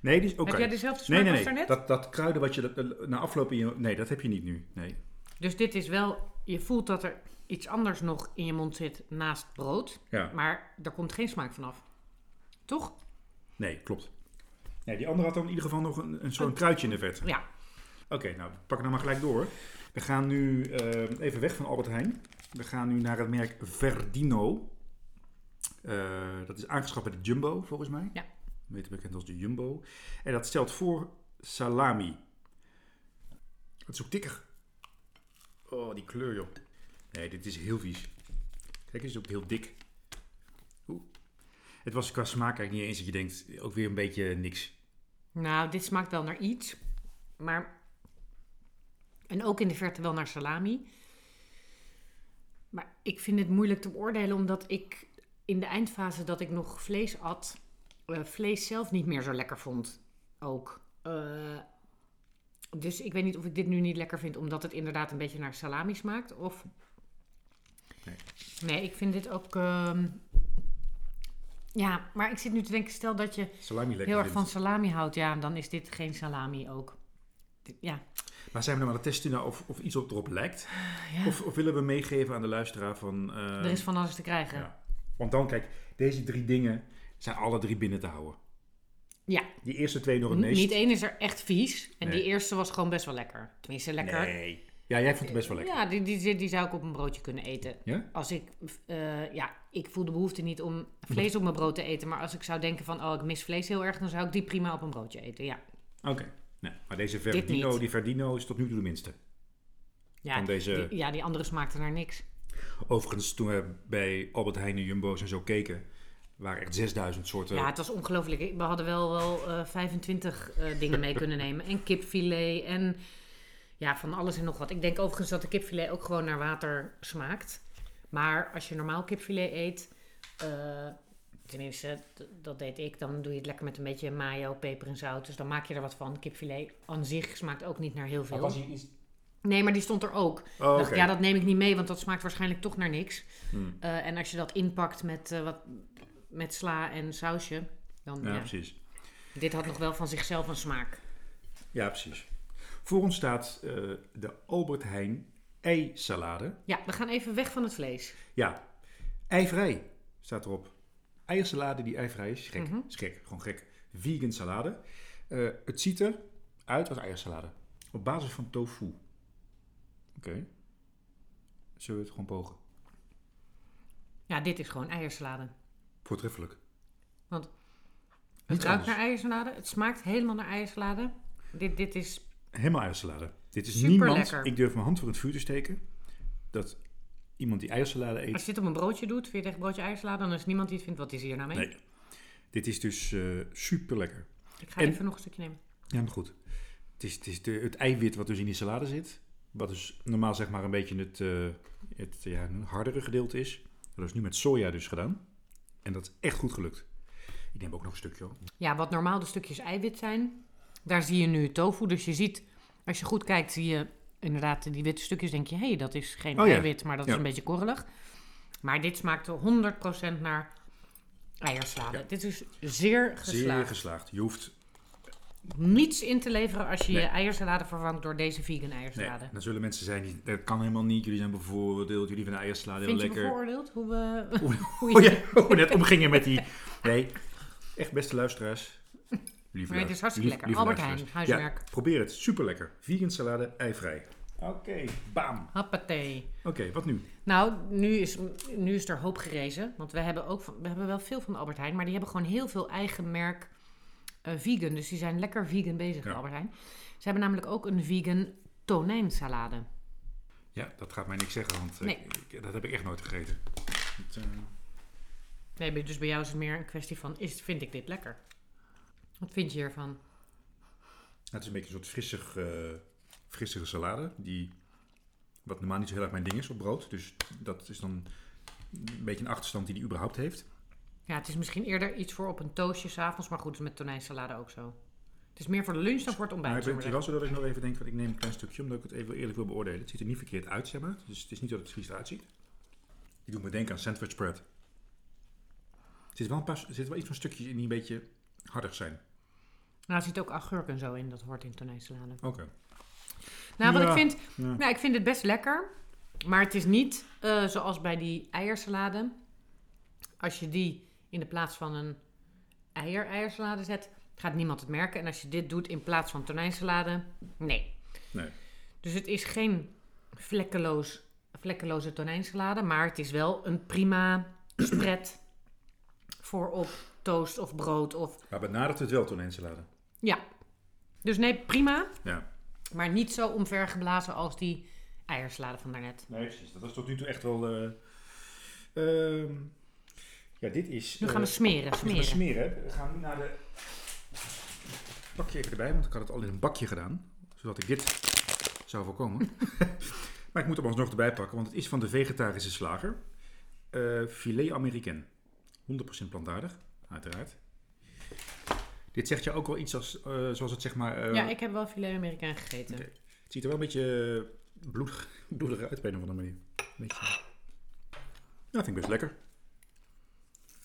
Speaker 1: Nee, die is oké.
Speaker 2: Heb jij dezelfde smaak
Speaker 1: Nee, nee,
Speaker 2: als
Speaker 1: nee. Dat,
Speaker 2: daarnet?
Speaker 1: dat kruiden wat je dat- dat- na afloop in je... Nee, dat heb je niet nu. Nee.
Speaker 2: Dus dit is wel, je voelt dat er iets anders nog in je mond zit naast brood.
Speaker 1: Ja.
Speaker 2: Maar daar komt geen smaak vanaf. Toch?
Speaker 1: Nee, klopt. Nee, die andere had dan in ieder geval nog een, een, zo'n kruidje in de vet.
Speaker 2: Ja.
Speaker 1: Oké, nou, we pakken nou maar gelijk door. We gaan nu eh, even weg van Albert Heijn. We gaan nu naar het merk Verdino. Eh, dat is aangeschaft bij de Jumbo, volgens mij.
Speaker 2: Ja.
Speaker 1: Beter bekend als de Jumbo. En dat stelt voor salami. Dat is ook dikker. Oh, die kleur, joh. Nee, dit is heel vies. Kijk, het is ook heel dik. Oeh. Het was qua smaak eigenlijk niet eens dat je denkt, ook weer een beetje niks.
Speaker 2: Nou, dit smaakt wel naar iets. Maar. En ook in de verte wel naar salami. Maar ik vind het moeilijk te beoordelen, omdat ik in de eindfase dat ik nog vlees at, eh, vlees zelf niet meer zo lekker vond. Ook. Eh, dus ik weet niet of ik dit nu niet lekker vind, omdat het inderdaad een beetje naar salami smaakt. Of.
Speaker 1: Nee.
Speaker 2: Nee, ik vind dit ook. ehm, Ja, maar ik zit nu te denken, stel dat je
Speaker 1: Salami lekker
Speaker 2: heel erg
Speaker 1: vindt.
Speaker 2: van salami houdt, ja, dan is dit geen salami ook. Dit- Ja,
Speaker 1: Maar zijn we nou aan het testen nou of, of iets op erop lijkt?
Speaker 2: Ja.
Speaker 1: Of, of willen we meegeven aan de luisteraar van... eh,
Speaker 2: er is van alles te krijgen. Ja,
Speaker 1: ja. Want dan, kijk, deze drie dingen zijn alle drie binnen te houden. Die eerste twee nog het
Speaker 2: n-
Speaker 1: meest.
Speaker 2: niet één is er echt vies. En
Speaker 1: Nee.
Speaker 2: die eerste was gewoon best wel lekker. Tenminste, lekker.
Speaker 1: Nee. Ja, jij vond het best wel lekker.
Speaker 2: Ja, die, die, die, die zou ik op een broodje kunnen eten.
Speaker 1: Ja?
Speaker 2: Als ik, eh, ja, ik voel de behoefte niet om vlees op mijn brood te eten. Maar als ik zou denken van, oh, ik mis vlees heel erg, dan zou ik die prima op een broodje eten. Ja,
Speaker 1: Oké. Nee. Maar deze
Speaker 2: Dit
Speaker 1: Verdino,
Speaker 2: niet.
Speaker 1: die Verdino is tot nu toe de minste.
Speaker 2: ja,
Speaker 1: Van deze-
Speaker 2: die, ja die andere smaakte naar niks.
Speaker 1: Overigens, toen we bij Albert Heijn en Jumbo's en zo keken, waren echt 6000 soorten.
Speaker 2: Ja, het was ongelooflijk. We hadden wel, wel eh, 25 eh, dingen mee kunnen nemen. En kipfilet en ja, van alles en nog wat. Ik denk overigens dat de kipfilet ook gewoon naar water smaakt. Maar als je normaal kipfilet eet, eh, tenminste, d- dat deed ik, dan doe je het lekker met een beetje mayo, peper en zout. Dus dan maak je er wat van. Kipfilet aan zich smaakt ook niet naar heel
Speaker 1: Maar
Speaker 2: veel.
Speaker 1: was hier iets-
Speaker 2: Nee, maar die stond er ook.
Speaker 1: Oh,
Speaker 2: Dacht,
Speaker 1: oké.
Speaker 2: Nou, ja, dat neem ik niet mee, want dat smaakt waarschijnlijk toch naar niks.
Speaker 1: Hmm.
Speaker 2: Eh, en als je dat inpakt met, eh, wat, met sla en sausje, dan
Speaker 1: ja,
Speaker 2: ja.
Speaker 1: precies.
Speaker 2: Dit had nog wel van zichzelf een smaak.
Speaker 1: Ja, precies. Voor ons staat eh, de Albert Heijn ei-salade.
Speaker 2: Ja, we gaan even weg van het vlees.
Speaker 1: Ja, eivrij staat erop. Eiersalade die eivrij is. Gek,
Speaker 2: Mhm.
Speaker 1: is gek, gewoon gek. Vegan salade. Eh, het ziet er uit als eiersalade. Op basis van tofu. Oké. Zullen we het gewoon pogen?
Speaker 2: Ja, dit is gewoon eiersalade.
Speaker 1: Voortreffelijk.
Speaker 2: Want
Speaker 1: Niet
Speaker 2: het ruikt
Speaker 1: anders.
Speaker 2: naar eiersalade. Het smaakt helemaal naar eiersalade. Dit, dit is...
Speaker 1: Helemaal eiersalade. Dit is
Speaker 2: Super
Speaker 1: niemand...
Speaker 2: lekker.
Speaker 1: Ik durf mijn hand voor het vuur te steken. Dat iemand die eiersalade eet...
Speaker 2: Als je dit op een broodje doet, vind je echt broodje eiersalade, dan is niemand die het vindt, wat is hier nou mee?
Speaker 1: Nee. Dit is dus super lekker.
Speaker 2: Ik ga
Speaker 1: En-
Speaker 2: even nog een stukje nemen.
Speaker 1: Ja, maar goed. Het is, het, is de, het eiwit wat dus in die salade zit. Wat dus normaal zeg maar een beetje het, eh, het ja, een hardere gedeelte is. Dat is nu met soja dus gedaan. En dat is echt goed gelukt. Ik neem ook nog een stukje. hoor.
Speaker 2: Ja, wat normaal de stukjes eiwit zijn, daar zie je nu tofu. Dus je ziet, als je goed kijkt, zie je inderdaad die witte stukjes. denk je, hé, hey, dat is geen
Speaker 1: Oh ja.
Speaker 2: eiwit, maar dat
Speaker 1: Ja.
Speaker 2: is een beetje korrelig. Maar dit smaakte 100% naar eiersalade.
Speaker 1: Ja.
Speaker 2: Dit is zeer geslaagd.
Speaker 1: Zeer geslaagd. Je hoeft...
Speaker 2: niets in te leveren als je
Speaker 1: Nee.
Speaker 2: je eiersalade vervangt door deze vegan
Speaker 1: Nee,
Speaker 2: eiersalade.
Speaker 1: dan zullen mensen zijn die... Dat kan helemaal niet. Jullie zijn bevoordeeld. Jullie vinden eiersalade heel
Speaker 2: Vind je
Speaker 1: lekker.
Speaker 2: bevooroordeeld hoe we... hoe je-
Speaker 1: Oh ja, hoe we net omgingen met die... Nee, echt beste luisteraars. Lieve
Speaker 2: Nee, het is hartstikke
Speaker 1: lief-
Speaker 2: lekker.
Speaker 1: lieve
Speaker 2: Albert
Speaker 1: luisteraars.
Speaker 2: Heijn,
Speaker 1: Ja,
Speaker 2: huismerk.
Speaker 1: probeer het. Super lekker. Vegan salade, eivrij. Oké, bam.
Speaker 2: Happatee.
Speaker 1: Oké, wat nu?
Speaker 2: Nou, nu is, nu is er hoop gerezen. Want we hebben, ook van- we hebben wel veel van de Albert Heijn. Maar die hebben gewoon heel veel eigen merk eh, vegan. Dus die zijn lekker vegan bezig,
Speaker 1: Ja.
Speaker 2: de Albert Heijn. Ze hebben namelijk ook een vegan tonijnsalade.
Speaker 1: Ja, dat gaat mij niks zeggen, want eh,
Speaker 2: Nee.
Speaker 1: ik- ik- dat heb ik echt nooit gegeten. Het, eh,
Speaker 2: Nee, maar dus bij jou is het meer een kwestie van... Is, vind ik dit lekker? Wat vind je hiervan?
Speaker 1: het is een beetje een soort frissig, eh, frissige salade, die, wat normaal niet zo heel erg mijn ding is op brood. Dus dat is dan een beetje een achterstand die die überhaupt heeft.
Speaker 2: Ja, het is misschien eerder iets voor op een toastje s'avonds. Maar goed, het is met tonijnsalade ook zo. Het is meer voor de lunch dan voor het ontbijt.
Speaker 1: Maar Nou, ik ben
Speaker 2: zullen
Speaker 1: het
Speaker 2: we
Speaker 1: hier wel zo dat ik nog even denk, van ik neem een klein stukje, omdat ik het even eerlijk wil beoordelen. Het ziet er niet verkeerd uit, zeg maar. Dus het is niet dat het vies eruit ziet. Die doet me denken aan sandwich spread. Er zit wel, een paar, er zit wel iets van stukjes in die een beetje harder zijn.
Speaker 2: zeggen. Nou, er zit ook agurk en zo in. Dat hoort in toneelsalade.
Speaker 1: Oké.
Speaker 2: Nou, wat
Speaker 1: Ja.
Speaker 2: ik vind...
Speaker 1: Ja.
Speaker 2: Nou, ik vind het best lekker. Maar het is niet eh, zoals bij die eiersalade. Als je die in de plaats van een eier-eiersalade zet... gaat niemand het merken. En als je dit doet in plaats van tonijnsalade... Nee.
Speaker 1: Nee.
Speaker 2: Dus het is geen vlekkeloos, vlekkeloze tonijnsalade, maar het is wel een prima spread voor op toast of brood of
Speaker 1: Maar benadert het wel tonijnsalade.
Speaker 2: ja. Dus nee, prima,
Speaker 1: Ja.
Speaker 2: maar niet zo omvergeblazen als die eiersalade van daarnet.
Speaker 1: Nee, precies. Dat was tot nu toe echt wel... eh, ehm, ja, dit is...
Speaker 2: Nu
Speaker 1: eh,
Speaker 2: gaan we smeren,
Speaker 1: we gaan
Speaker 2: smeren.
Speaker 1: smeren. hè. We gaan nu naar de... Pakje even erbij, want ik had het al in een bakje gedaan. Zodat ik dit zou voorkomen. maar ik moet hem alsnog erbij pakken, want het is van de vegetarische slager. Eh, filet Americain. 100% plantaardig, uiteraard. Dit zegt je ook wel iets als, eh, zoals het zeg maar... eh,
Speaker 2: Ja, ik heb wel filet Amerikaan gegeten.
Speaker 1: Oké. Het ziet er wel een beetje eh, bloedig, bloedig uit op een of andere manier. Een beetje. Ja, vind ik best lekker.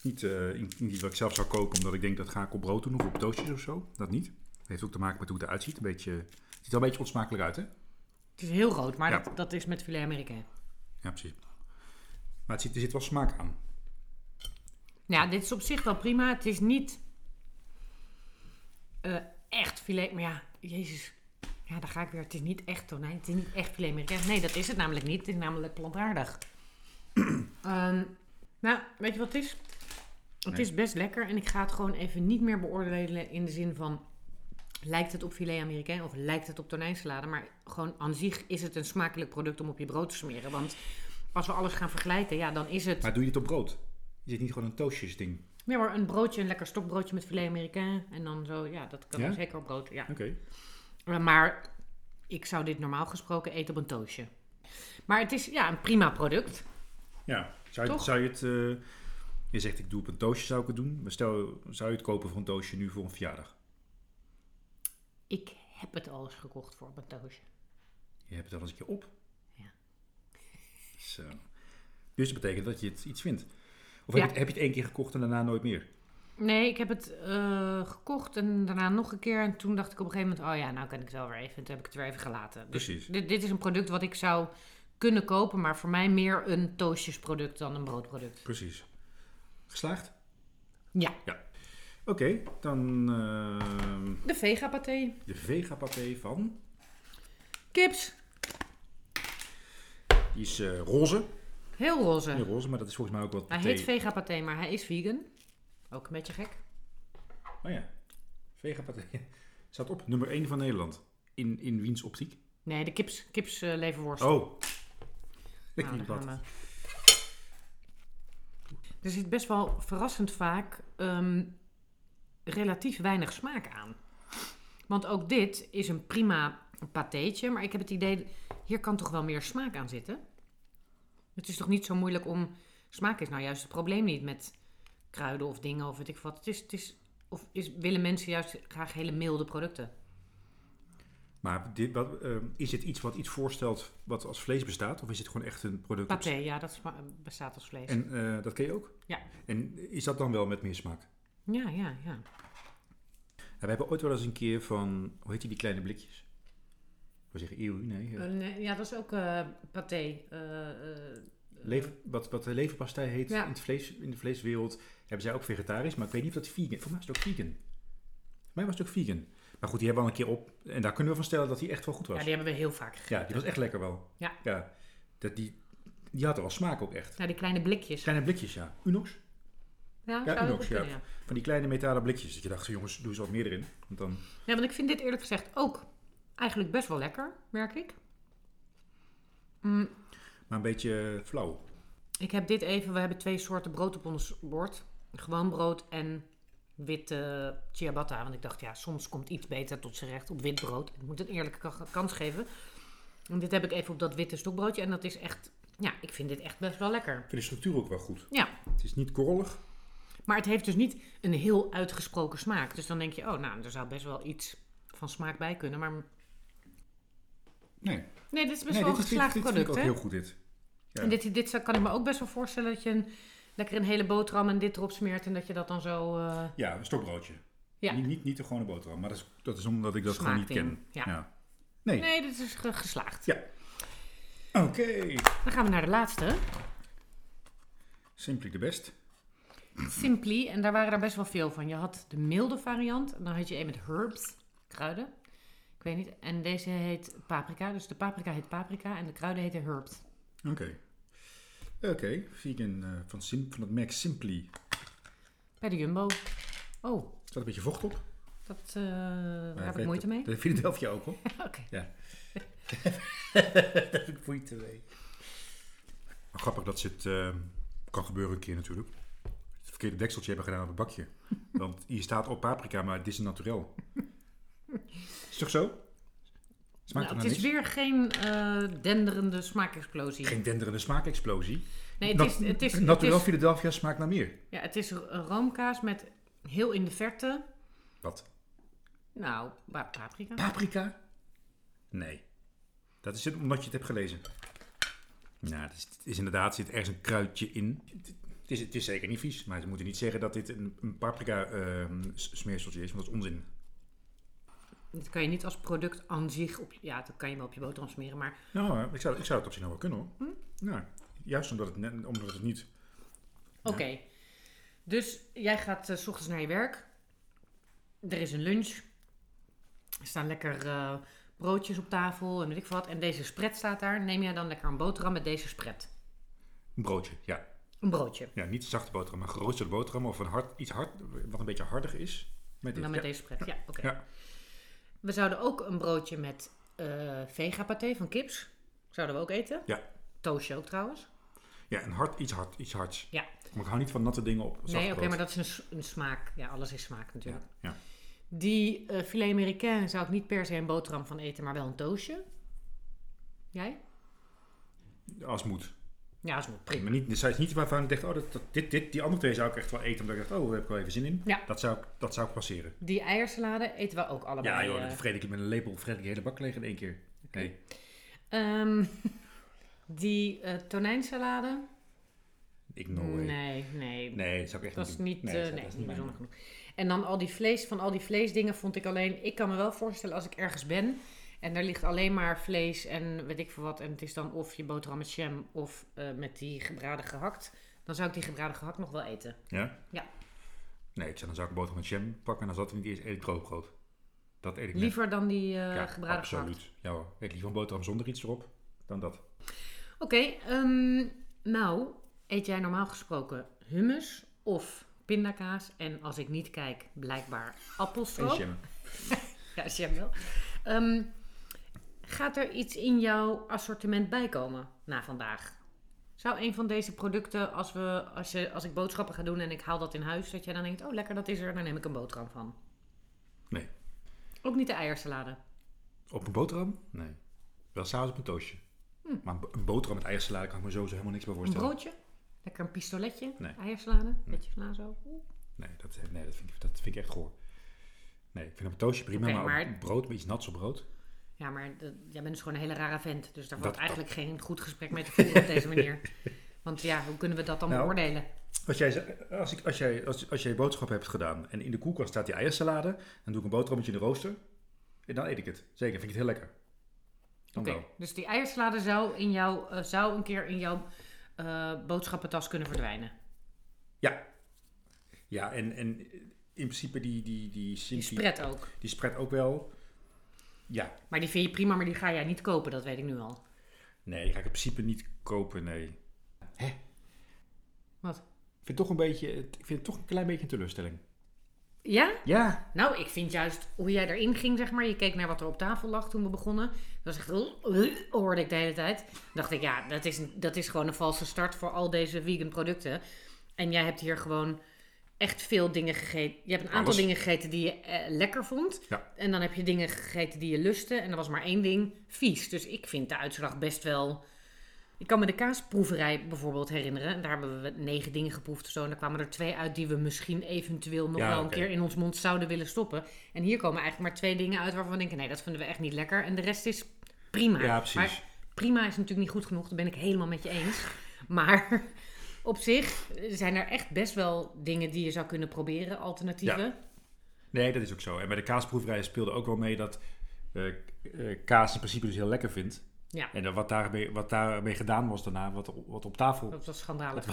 Speaker 1: Niet, eh, niet niet wat ik zelf zou koken, omdat ik denk dat ga ik op brood doen of op toastjes of zo. Dat niet. Heeft ook te maken met hoe het eruit ziet. Een beetje, het ziet er wel een beetje onsmakelijk uit, hè?
Speaker 2: Het is heel rood, maar
Speaker 1: Ja.
Speaker 2: dat, dat is met filet Amerikaan.
Speaker 1: Ja, precies. Maar het zit, er zit wel smaak aan.
Speaker 2: Nou Ja, dit is op zich wel prima. Het is niet eh, echt filet. Maar ja, jezus. Ja, daar ga ik weer. Het is niet echt tonijn. Het is niet echt filet Amerikaan. Nee, dat is het namelijk niet. Het is namelijk plantaardig. Ehm, nou, weet je wat het is? Het
Speaker 1: Nee.
Speaker 2: is best lekker. En ik ga het gewoon even niet meer beoordelen in de zin van... Lijkt het op filet Amerikaan of lijkt het op tonijnsalade? Maar gewoon aan zich is het een smakelijk product om op je brood te smeren. Want als we alles gaan vergelijken, ja, dan is het...
Speaker 1: Maar doe je dit op brood? Is dit niet gewoon een toastjesding?
Speaker 2: Ja hoor, een broodje, een lekker stokbroodje met filet Amerikaan. En dan zo, ja, dat kan
Speaker 1: Ja?
Speaker 2: zeker op brood. Ja.
Speaker 1: Oké.
Speaker 2: Uh, Maar ik zou dit normaal gesproken eten op een toastje. Maar het is ja, een prima product.
Speaker 1: Ja. Zou je,
Speaker 2: Toch?
Speaker 1: zou je het... eh, je zegt ik doe op een toastje, zou ik het doen. Maar stel, zou je het kopen voor een toastje nu voor een verjaardag?
Speaker 2: Ik heb het al eens gekocht voor op een toastje.
Speaker 1: Je hebt het al eens een keer op.
Speaker 2: Ja.
Speaker 1: Zo. Dus dat betekent dat je het iets vindt. Of heb, je
Speaker 2: Ja.
Speaker 1: het, heb je het één keer gekocht en daarna nooit meer?
Speaker 2: Nee, ik heb het eh, gekocht en daarna nog een keer. En toen dacht ik op een gegeven moment, oh ja, nou kan ik het wel weer even. En toen heb ik het weer even gelaten. Dus
Speaker 1: Precies.
Speaker 2: dit, dit is een product wat ik zou kunnen kopen. Maar voor mij meer een toastjesproduct dan een broodproduct.
Speaker 1: Precies. Geslaagd?
Speaker 2: Ja,
Speaker 1: Oké, dan ehm,
Speaker 2: de vega paté.
Speaker 1: de vega-paté van...
Speaker 2: Kips,
Speaker 1: Die is eh, roze.
Speaker 2: heel roze.
Speaker 1: Nee, roze, maar dat is volgens mij ook wat
Speaker 2: Hij
Speaker 1: paté.
Speaker 2: heet Vega Paté, maar hij is vegan. Ook een beetje gek.
Speaker 1: Oh ja, vega-paté. Staat op nummer 1 van Nederland. In, in wiens optiek?
Speaker 2: Nee, de kips, kips eh, leverworst.
Speaker 1: Oh. Ik
Speaker 2: Nou,
Speaker 1: niet
Speaker 2: daar
Speaker 1: wat.
Speaker 2: gaan we. Er zit best wel verrassend vaak ehm, relatief weinig smaak aan. Want ook dit is een prima patéetje, maar ik heb het idee, hier kan toch wel meer smaak aan zitten? Het is toch niet zo moeilijk om... Smaak is nou juist het probleem niet met kruiden of dingen of weet ik wat. Het is, het is, of is, willen mensen juist graag hele milde producten?
Speaker 1: Maar dit, wat, ehm, is dit iets wat iets voorstelt wat als vlees bestaat? Of is het gewoon echt een product op
Speaker 2: Paté, ja, dat sma- bestaat als vlees.
Speaker 1: En eh, dat ken je ook?
Speaker 2: Ja.
Speaker 1: En is dat dan wel met meer smaak?
Speaker 2: Ja, ja, ja.
Speaker 1: Nou, we hebben ooit wel eens een keer van, hoe heet die, die kleine blikjes? We zeggen eeuw, nee. eh,
Speaker 2: Eh, nee, ja, dat is ook eh paté. eh, eh,
Speaker 1: lever, wat, wat de leverpastei heet
Speaker 2: Ja.
Speaker 1: in, het vlees, in de vleeswereld, hebben zij ook vegetarisch, maar ik weet niet of dat vegan Voor mij was het ook vegan. Voor mij was het ook vegan. Maar goed, die hebben we al een keer op. En daar kunnen we van stellen dat die echt wel goed
Speaker 2: ja,
Speaker 1: was.
Speaker 2: die hebben we heel vaak gegeten.
Speaker 1: Ja, die was echt lekker wel.
Speaker 2: Ja.
Speaker 1: Dat die, die had wel smaak ook echt.
Speaker 2: Nou, die kleine blikjes.
Speaker 1: Kleine blikjes, ja. Unox?
Speaker 2: Ja,
Speaker 1: Ja,
Speaker 2: zou
Speaker 1: Unox,
Speaker 2: ook kunnen,
Speaker 1: ja.
Speaker 2: ja.
Speaker 1: Van die kleine metalen blikjes. Dat je dacht, jongens, doe eens wat meer erin. Want dan...
Speaker 2: Ja, want ik vind dit eerlijk gezegd ook eigenlijk best wel lekker, merk ik. Mm,
Speaker 1: Maar een beetje eh, flauw.
Speaker 2: ik heb dit even, we hebben twee soorten brood op ons bord. Gewoon brood en witte ciabatta. Want ik dacht, ja, soms komt iets beter tot zijn recht op wit brood. Ik moet een eerlijke ka- kans geven. En dit heb ik even op dat witte stokbroodje. En dat is echt, ja, ik vind dit echt best wel lekker.
Speaker 1: Ik vind de structuur ook wel goed.
Speaker 2: Ja,
Speaker 1: Het is niet korrelig.
Speaker 2: Maar het heeft dus niet een heel uitgesproken smaak. Dus dan denk je, oh nou, er zou best wel iets van smaak bij kunnen. Maar
Speaker 1: Nee,
Speaker 2: nee, dit is best
Speaker 1: nee
Speaker 2: wel
Speaker 1: dit,
Speaker 2: een
Speaker 1: is, dit,
Speaker 2: geslaagd
Speaker 1: dit vind
Speaker 2: product.
Speaker 1: ik ook
Speaker 2: hè?
Speaker 1: heel goed dit. Ja.
Speaker 2: En dit, dit zou- kan ik me ook best wel voorstellen dat je een, lekker een hele boterham en dit erop smeert en dat je dat dan zo. eh,
Speaker 1: Ja, een stokbroodje.
Speaker 2: Ja.
Speaker 1: Niet, niet, niet de gewone boterham, maar dat is, dat is omdat ik dat gewoon niet
Speaker 2: Smaakding,
Speaker 1: ken.
Speaker 2: ja.
Speaker 1: Nee.
Speaker 2: Nee, dit is ge- geslaagd.
Speaker 1: Ja. Oké.
Speaker 2: Dan gaan we naar de laatste.
Speaker 1: Simply the best.
Speaker 2: Simply, en daar waren er best wel veel van. Je had de milde variant, en dan had je een met herbs, kruiden. Ik weet niet. En deze heet paprika. Dus de paprika heet paprika en de kruiden heten herbs.
Speaker 1: Oké. Oké. Vegan eh, van, Sim, van het merk Simply.
Speaker 2: Bij de Jumbo. Oh,
Speaker 1: Staat een beetje vocht op.
Speaker 2: dat, eh, daar
Speaker 1: Maar
Speaker 2: heb ik
Speaker 1: weet
Speaker 2: moeite
Speaker 1: dat-
Speaker 2: mee.
Speaker 1: Dat Philadelphia ook hoor.
Speaker 2: Oké.
Speaker 1: Ja. dat heb ik moeite mee. Maar grappig dat ze het eh, kan gebeuren een keer natuurlijk. Het verkeerde dekseltje hebben gedaan op het bakje. Want hier staat op paprika, maar het is een naturel. Is toch zo? Smaakt
Speaker 2: Nou,
Speaker 1: er
Speaker 2: het
Speaker 1: naar
Speaker 2: is
Speaker 1: niks?
Speaker 2: weer geen eh, denderende smaakexplosie.
Speaker 1: Geen denderende smaakexplosie.
Speaker 2: Nee, het
Speaker 1: Nat-
Speaker 2: is, het is, het
Speaker 1: Naturel
Speaker 2: is,
Speaker 1: Philadelphia smaakt naar meer.
Speaker 2: ja, het is een roomkaas met heel in de verte,
Speaker 1: Wat?
Speaker 2: nou, pa- paprika.
Speaker 1: Paprika? Nee. Dat is het omdat je het hebt gelezen. Nou, het is, het is inderdaad, zit ergens een kruidje in. Het het is, het is zeker niet vies, maar ze moeten niet zeggen dat dit een, een paprika ehm, s- smeerseltje is, want dat is onzin.
Speaker 2: Dat kan je niet als product aan zich op, ja, dat kan je wel op je boterham smeren, maar
Speaker 1: Nou, eh, ik zou, ik zou het op zich nog wel kunnen hoor.
Speaker 2: Hm?
Speaker 1: Nou, juist omdat het, net- omdat het niet...
Speaker 2: Oké. Dus jij gaat eh, s ochtends naar je werk. Er is een lunch. Er staan lekker eh, broodjes op tafel en weet ik veel wat. En deze spread staat daar. Neem jij dan lekker een boterham met deze spread?
Speaker 1: Een broodje, ja.
Speaker 2: Een broodje.
Speaker 1: ja niet zachte boterham, maar geroosterde boterham of een hard, iets hard, wat een beetje harder is. Met dit.
Speaker 2: En dan met
Speaker 1: ja.
Speaker 2: deze spread. Ja, oké.
Speaker 1: Ja.
Speaker 2: We zouden ook een broodje met eh vega-paté van kips. Zouden we ook eten.
Speaker 1: Ja.
Speaker 2: Toastje ook trouwens.
Speaker 1: ja, een hard, iets hard, iets hards.
Speaker 2: Ja.
Speaker 1: Maar ik hou niet van natte dingen op zacht
Speaker 2: nee, oké,
Speaker 1: brood.
Speaker 2: maar dat is een, s- een smaak. Ja, alles is smaak natuurlijk.
Speaker 1: Ja.
Speaker 2: Die eh filet américain zou ik niet per se een boterham van eten, maar wel een toastje. Jij?
Speaker 1: ja, als moet.
Speaker 2: Ja, dat is wel prima.
Speaker 1: Maar niet, dus hij is niet waarvan ik dacht, oh, dat, dat- dit, dit, die andere twee zou ik echt wel eten. Omdat ik dacht, oh, daar heb ik wel even zin in.
Speaker 2: Ja.
Speaker 1: Dat, zou, ik- dat zou ik passeren.
Speaker 2: Die eiersalade eten we ook allebei.
Speaker 1: ja, joh,
Speaker 2: eh.
Speaker 1: dan vreet ik met een lepel vreet ik de hele bak leeg in één keer. Nee.
Speaker 2: Ehm, die eh, tonijnsalade?
Speaker 1: Ik no way. Nee.
Speaker 2: Nee, nee.
Speaker 1: dat zou ik echt
Speaker 2: Dat is
Speaker 1: niet doen.
Speaker 2: niet, eh,
Speaker 1: dat
Speaker 2: nee,
Speaker 1: zou- dat is
Speaker 2: niet
Speaker 1: mijn
Speaker 2: bijzonder genoeg. En dan al die vlees, van al die vleesdingen vond ik alleen... Ik kan me wel voorstellen als ik ergens ben en er ligt alleen maar vlees en weet ik veel wat... en het is dan of je boterham met jam of eh, met die gebraden gehakt... dan zou ik die gebraden gehakt nog wel eten.
Speaker 1: ding. Ja?
Speaker 2: Ja.
Speaker 1: Nee, ik zou dan zou ik een boterham met jam pakken. En als dat er niet is, eet ik droogbrood. Dat eet ik net.
Speaker 2: Liever dan die eh,
Speaker 1: Ja,
Speaker 2: gebraden gehakt.
Speaker 1: absoluut. Ja hoor. Ik liever een boterham zonder iets erop dan dat.
Speaker 2: Oké, ehm, nou, eet jij normaal gesproken hummus of pindakaas? En als ik niet kijk, blijkbaar
Speaker 1: En
Speaker 2: appelstroop.
Speaker 1: jam.
Speaker 2: Ja, jam wel. Ehm, gaat er iets in jouw assortiment bijkomen na vandaag? Zou een van deze producten, als, we, als, je, als ik boodschappen ga doen en ik haal dat in huis, dat jij dan denkt, oh lekker, dat is er, daar neem ik een boterham van.
Speaker 1: Nee.
Speaker 2: Ook niet de eiersalade.
Speaker 1: Op een boterham? Nee. Wel s'avonds op een toastje. Maar een bo- een boterham met eiersalade kan ik me sowieso helemaal niks bij
Speaker 2: Hm. Een
Speaker 1: voorstellen.
Speaker 2: broodje? Lekker een pistoletje?
Speaker 1: Nee.
Speaker 2: Eiersalade? Beetje sla zo? Oeh.
Speaker 1: Nee, dat, eh, nee dat, vind ik, dat vind ik echt goor. Nee, ik vind op een toastje prima,
Speaker 2: Oké,
Speaker 1: maar, op
Speaker 2: maar-
Speaker 1: brood, met iets nats op brood.
Speaker 2: Ja, maar de- jij bent dus gewoon een hele rare vent. Dus daar
Speaker 1: Dat-
Speaker 2: wordt eigenlijk geen goed gesprek mee te voeren op deze manier. Want ja, hoe kunnen we dat dan
Speaker 1: Nou.
Speaker 2: beoordelen?
Speaker 1: Als jij, ze- als, ik, als, jij, als, als jij boodschappen hebt gedaan en in de koelkast staat die eiersalade, dan doe ik een boterhammetje in de rooster en dan eet ik het. Zeker, vind ik het heel lekker. Dan
Speaker 2: Oké,
Speaker 1: wel.
Speaker 2: dus die eiersalade zou, in jouw, eh, zou een keer in jouw eh, boodschappentas kunnen verdwijnen.
Speaker 1: Ja. Ja, en, en in principe die, die, die,
Speaker 2: Die
Speaker 1: Simply-
Speaker 2: spread ook.
Speaker 1: die spread ook wel. Ja.
Speaker 2: Maar die vind je prima, maar die ga jij niet kopen, dat weet ik nu al.
Speaker 1: Nee, die ga ik in principe niet kopen, nee. Hè?
Speaker 2: Wat?
Speaker 1: Ik vind het toch een beetje, ik vind het toch een klein beetje een teleurstelling.
Speaker 2: Ja?
Speaker 1: Ja,
Speaker 2: Nou, ik vind juist hoe jij erin ging, zeg maar. Je keek naar wat er op tafel lag toen we begonnen. Dat was echt... eh, hoorde ik de hele tijd. Dan dacht ik, ja, dat is, dat is gewoon een valse start voor al deze vegan producten. En jij hebt hier gewoon echt veel dingen gegeten. Je hebt een aantal
Speaker 1: Alles.
Speaker 2: dingen gegeten die je eh, lekker vond.
Speaker 1: Ja.
Speaker 2: En dan heb je dingen gegeten die je lustte. En er was maar één ding vies. Dus ik vind de uitslag best wel Ik kan me de kaasproeverij bijvoorbeeld herinneren. Daar hebben we negen dingen geproefd of zo. En daar kwamen er twee uit die we misschien eventueel nog
Speaker 1: Ja,
Speaker 2: wel een
Speaker 1: oké.
Speaker 2: keer in ons mond zouden willen stoppen. En hier komen eigenlijk maar twee dingen uit waarvan we denken: nee, dat vinden we echt niet lekker. En de rest is prima.
Speaker 1: Ja, precies.
Speaker 2: Maar prima is natuurlijk niet goed genoeg. Dat ben ik helemaal met je eens. Maar op zich zijn er echt best wel dingen die je zou kunnen proberen, alternatieven.
Speaker 1: Nee, dat is ook zo. En bij de kaasproeverij speelde ook wel mee dat eh, eh, kaas in principe dus heel lekker vindt.
Speaker 2: Ja.
Speaker 1: En dan wat daarmee, wat daarmee gedaan was daarna, wat, op- wat op tafel
Speaker 2: Oh, Dat was schandalig.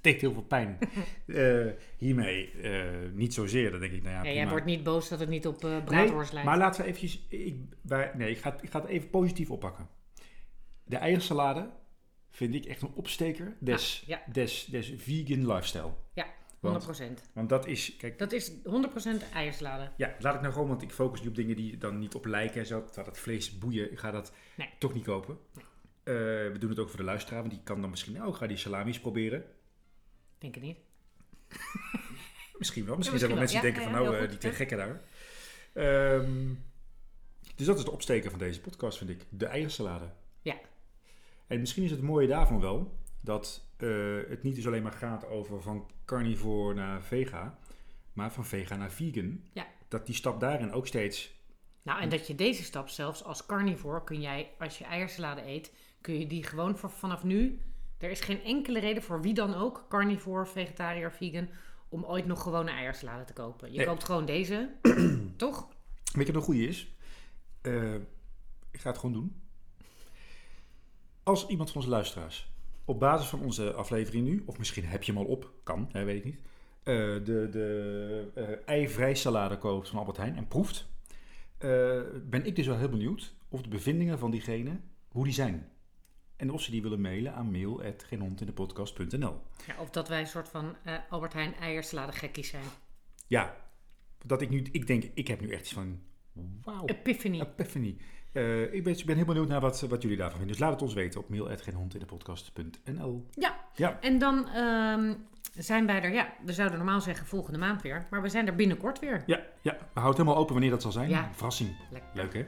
Speaker 1: deed heel veel pijn. Eh, hiermee eh, niet zozeer. Dan denk ik, nou ja,
Speaker 2: Ja, jij
Speaker 1: prima.
Speaker 2: wordt niet boos dat het niet op eh
Speaker 1: nee,
Speaker 2: braadworst lijkt.
Speaker 1: maar laten we eventjes... Ik, wij- nee, ik ga, het- ik ga het even positief oppakken. De eiersalade vind ik echt een opsteker des,
Speaker 2: Ah, ja.
Speaker 1: des, des vegan lifestyle.
Speaker 2: Ja, 100%.
Speaker 1: Want- Want dat is... Kijk,
Speaker 2: Dat is 100% eiersalade.
Speaker 1: Ja, laat ik nou gewoon, want ik focus nu op dingen die dan niet op lijken en zo. Terwijl dat vlees boeien, ik ga dat
Speaker 2: Nee.
Speaker 1: toch niet kopen. Eh, we doen het ook voor de luisteraar, want die kan dan misschien ook ga die salamis proberen.
Speaker 2: Denk het niet.
Speaker 1: Misschien wel. Misschien,
Speaker 2: Ja,
Speaker 1: zijn er mensen
Speaker 2: misschien
Speaker 1: die
Speaker 2: wel.
Speaker 1: denken
Speaker 2: Ja,
Speaker 1: van,
Speaker 2: ja,
Speaker 1: nou, eh,
Speaker 2: heel
Speaker 1: die
Speaker 2: goed,
Speaker 1: twee gekken daar. Ehm, dus dat is de opsteker van deze podcast, vind ik. De eiersalade.
Speaker 2: Ja.
Speaker 1: En misschien is het mooie daarvan wel dat eh, het niet dus alleen maar gaat over van carnivore naar vega, maar van vega naar vegan.
Speaker 2: Ja.
Speaker 1: Dat die stap daarin ook steeds
Speaker 2: Nou, en dat je deze stap zelfs als carnivore kun jij, als je eiersalade eet, kun je die gewoon voor vanaf nu. Er is geen enkele reden voor wie dan ook, carnivore, vegetariër, vegan, om ooit nog gewone eiersalade te kopen. Je
Speaker 1: Nee.
Speaker 2: koopt gewoon deze, toch?
Speaker 1: Weet je wat een goede is? Eh, ik ga het gewoon doen. Als iemand van onze luisteraars op basis van onze aflevering nu, of misschien heb je hem al op, kan, hè, weet ik niet, eh, de, de eh eivrij salade koopt van Albert Heijn en proeft, eh, ben ik dus wel heel benieuwd of de bevindingen van diegene, hoe die zijn. En of ze die willen mailen aan mail.geenhondindepodcast.nl
Speaker 2: Ja, of dat wij een soort van eh, Albert Heijn eiersalade gekkies zijn.
Speaker 1: Ja, dat ik nu, ik denk, ik heb nu echt iets van, wauw.
Speaker 2: Epiphany.
Speaker 1: Epiphany. Eh, ik, ben, ik ben heel benieuwd naar wat, wat jullie daarvan vinden. Dus laat het ons weten op mail.geenhondindepodcast.nl
Speaker 2: Ja,
Speaker 1: Ja,
Speaker 2: en dan ehm, zijn wij er, ja, we zouden normaal zeggen volgende maand weer, maar we zijn er binnenkort weer.
Speaker 1: ja, ja. We houden het helemaal open wanneer dat zal zijn.
Speaker 2: Ja.
Speaker 1: Verrassing.
Speaker 2: Lekker.
Speaker 1: Leuk hè?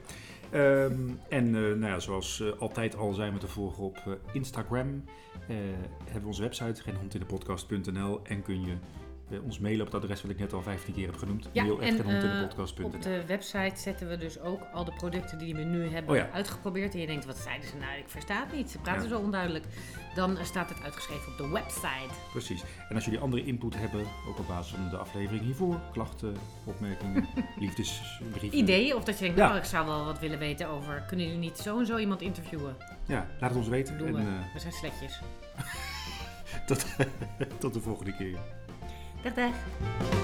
Speaker 1: Ehm, en eh, nou ja, zoals eh, altijd al zijn we te volgen op eh, Instagram. Eh, hebben we onze website geenhondindepodcast.nl en kun je eh, ons mailen op het adres wat ik net al 15 keer heb genoemd.
Speaker 2: Ja, en, eh,
Speaker 1: mail.geenhondindepodcast.nl
Speaker 2: Op de website zetten we dus ook al de producten die we nu hebben
Speaker 1: Oh ja.
Speaker 2: uitgeprobeerd. En je denkt, wat zeiden ze nou? Ik versta het niet. Ze praten
Speaker 1: Ja.
Speaker 2: zo onduidelijk. Dan eh, staat het uitgeschreven op de website.
Speaker 1: Precies. En als jullie andere input hebben, ook op basis van de aflevering hiervoor, klachten, opmerkingen, liefdesbrieven.
Speaker 2: Ideeën, of dat je denkt,
Speaker 1: Hm. Ja.
Speaker 2: oh, ik zou wel wat willen weten over... Kunnen jullie niet zo en zo iemand interviewen?
Speaker 1: Ja, laat het ons weten.
Speaker 2: Doen
Speaker 1: en
Speaker 2: we.
Speaker 1: eh,
Speaker 2: we zijn sletjes.
Speaker 1: tot, tot de volgende keer.
Speaker 2: Dag, dag.
Speaker 1: Dag.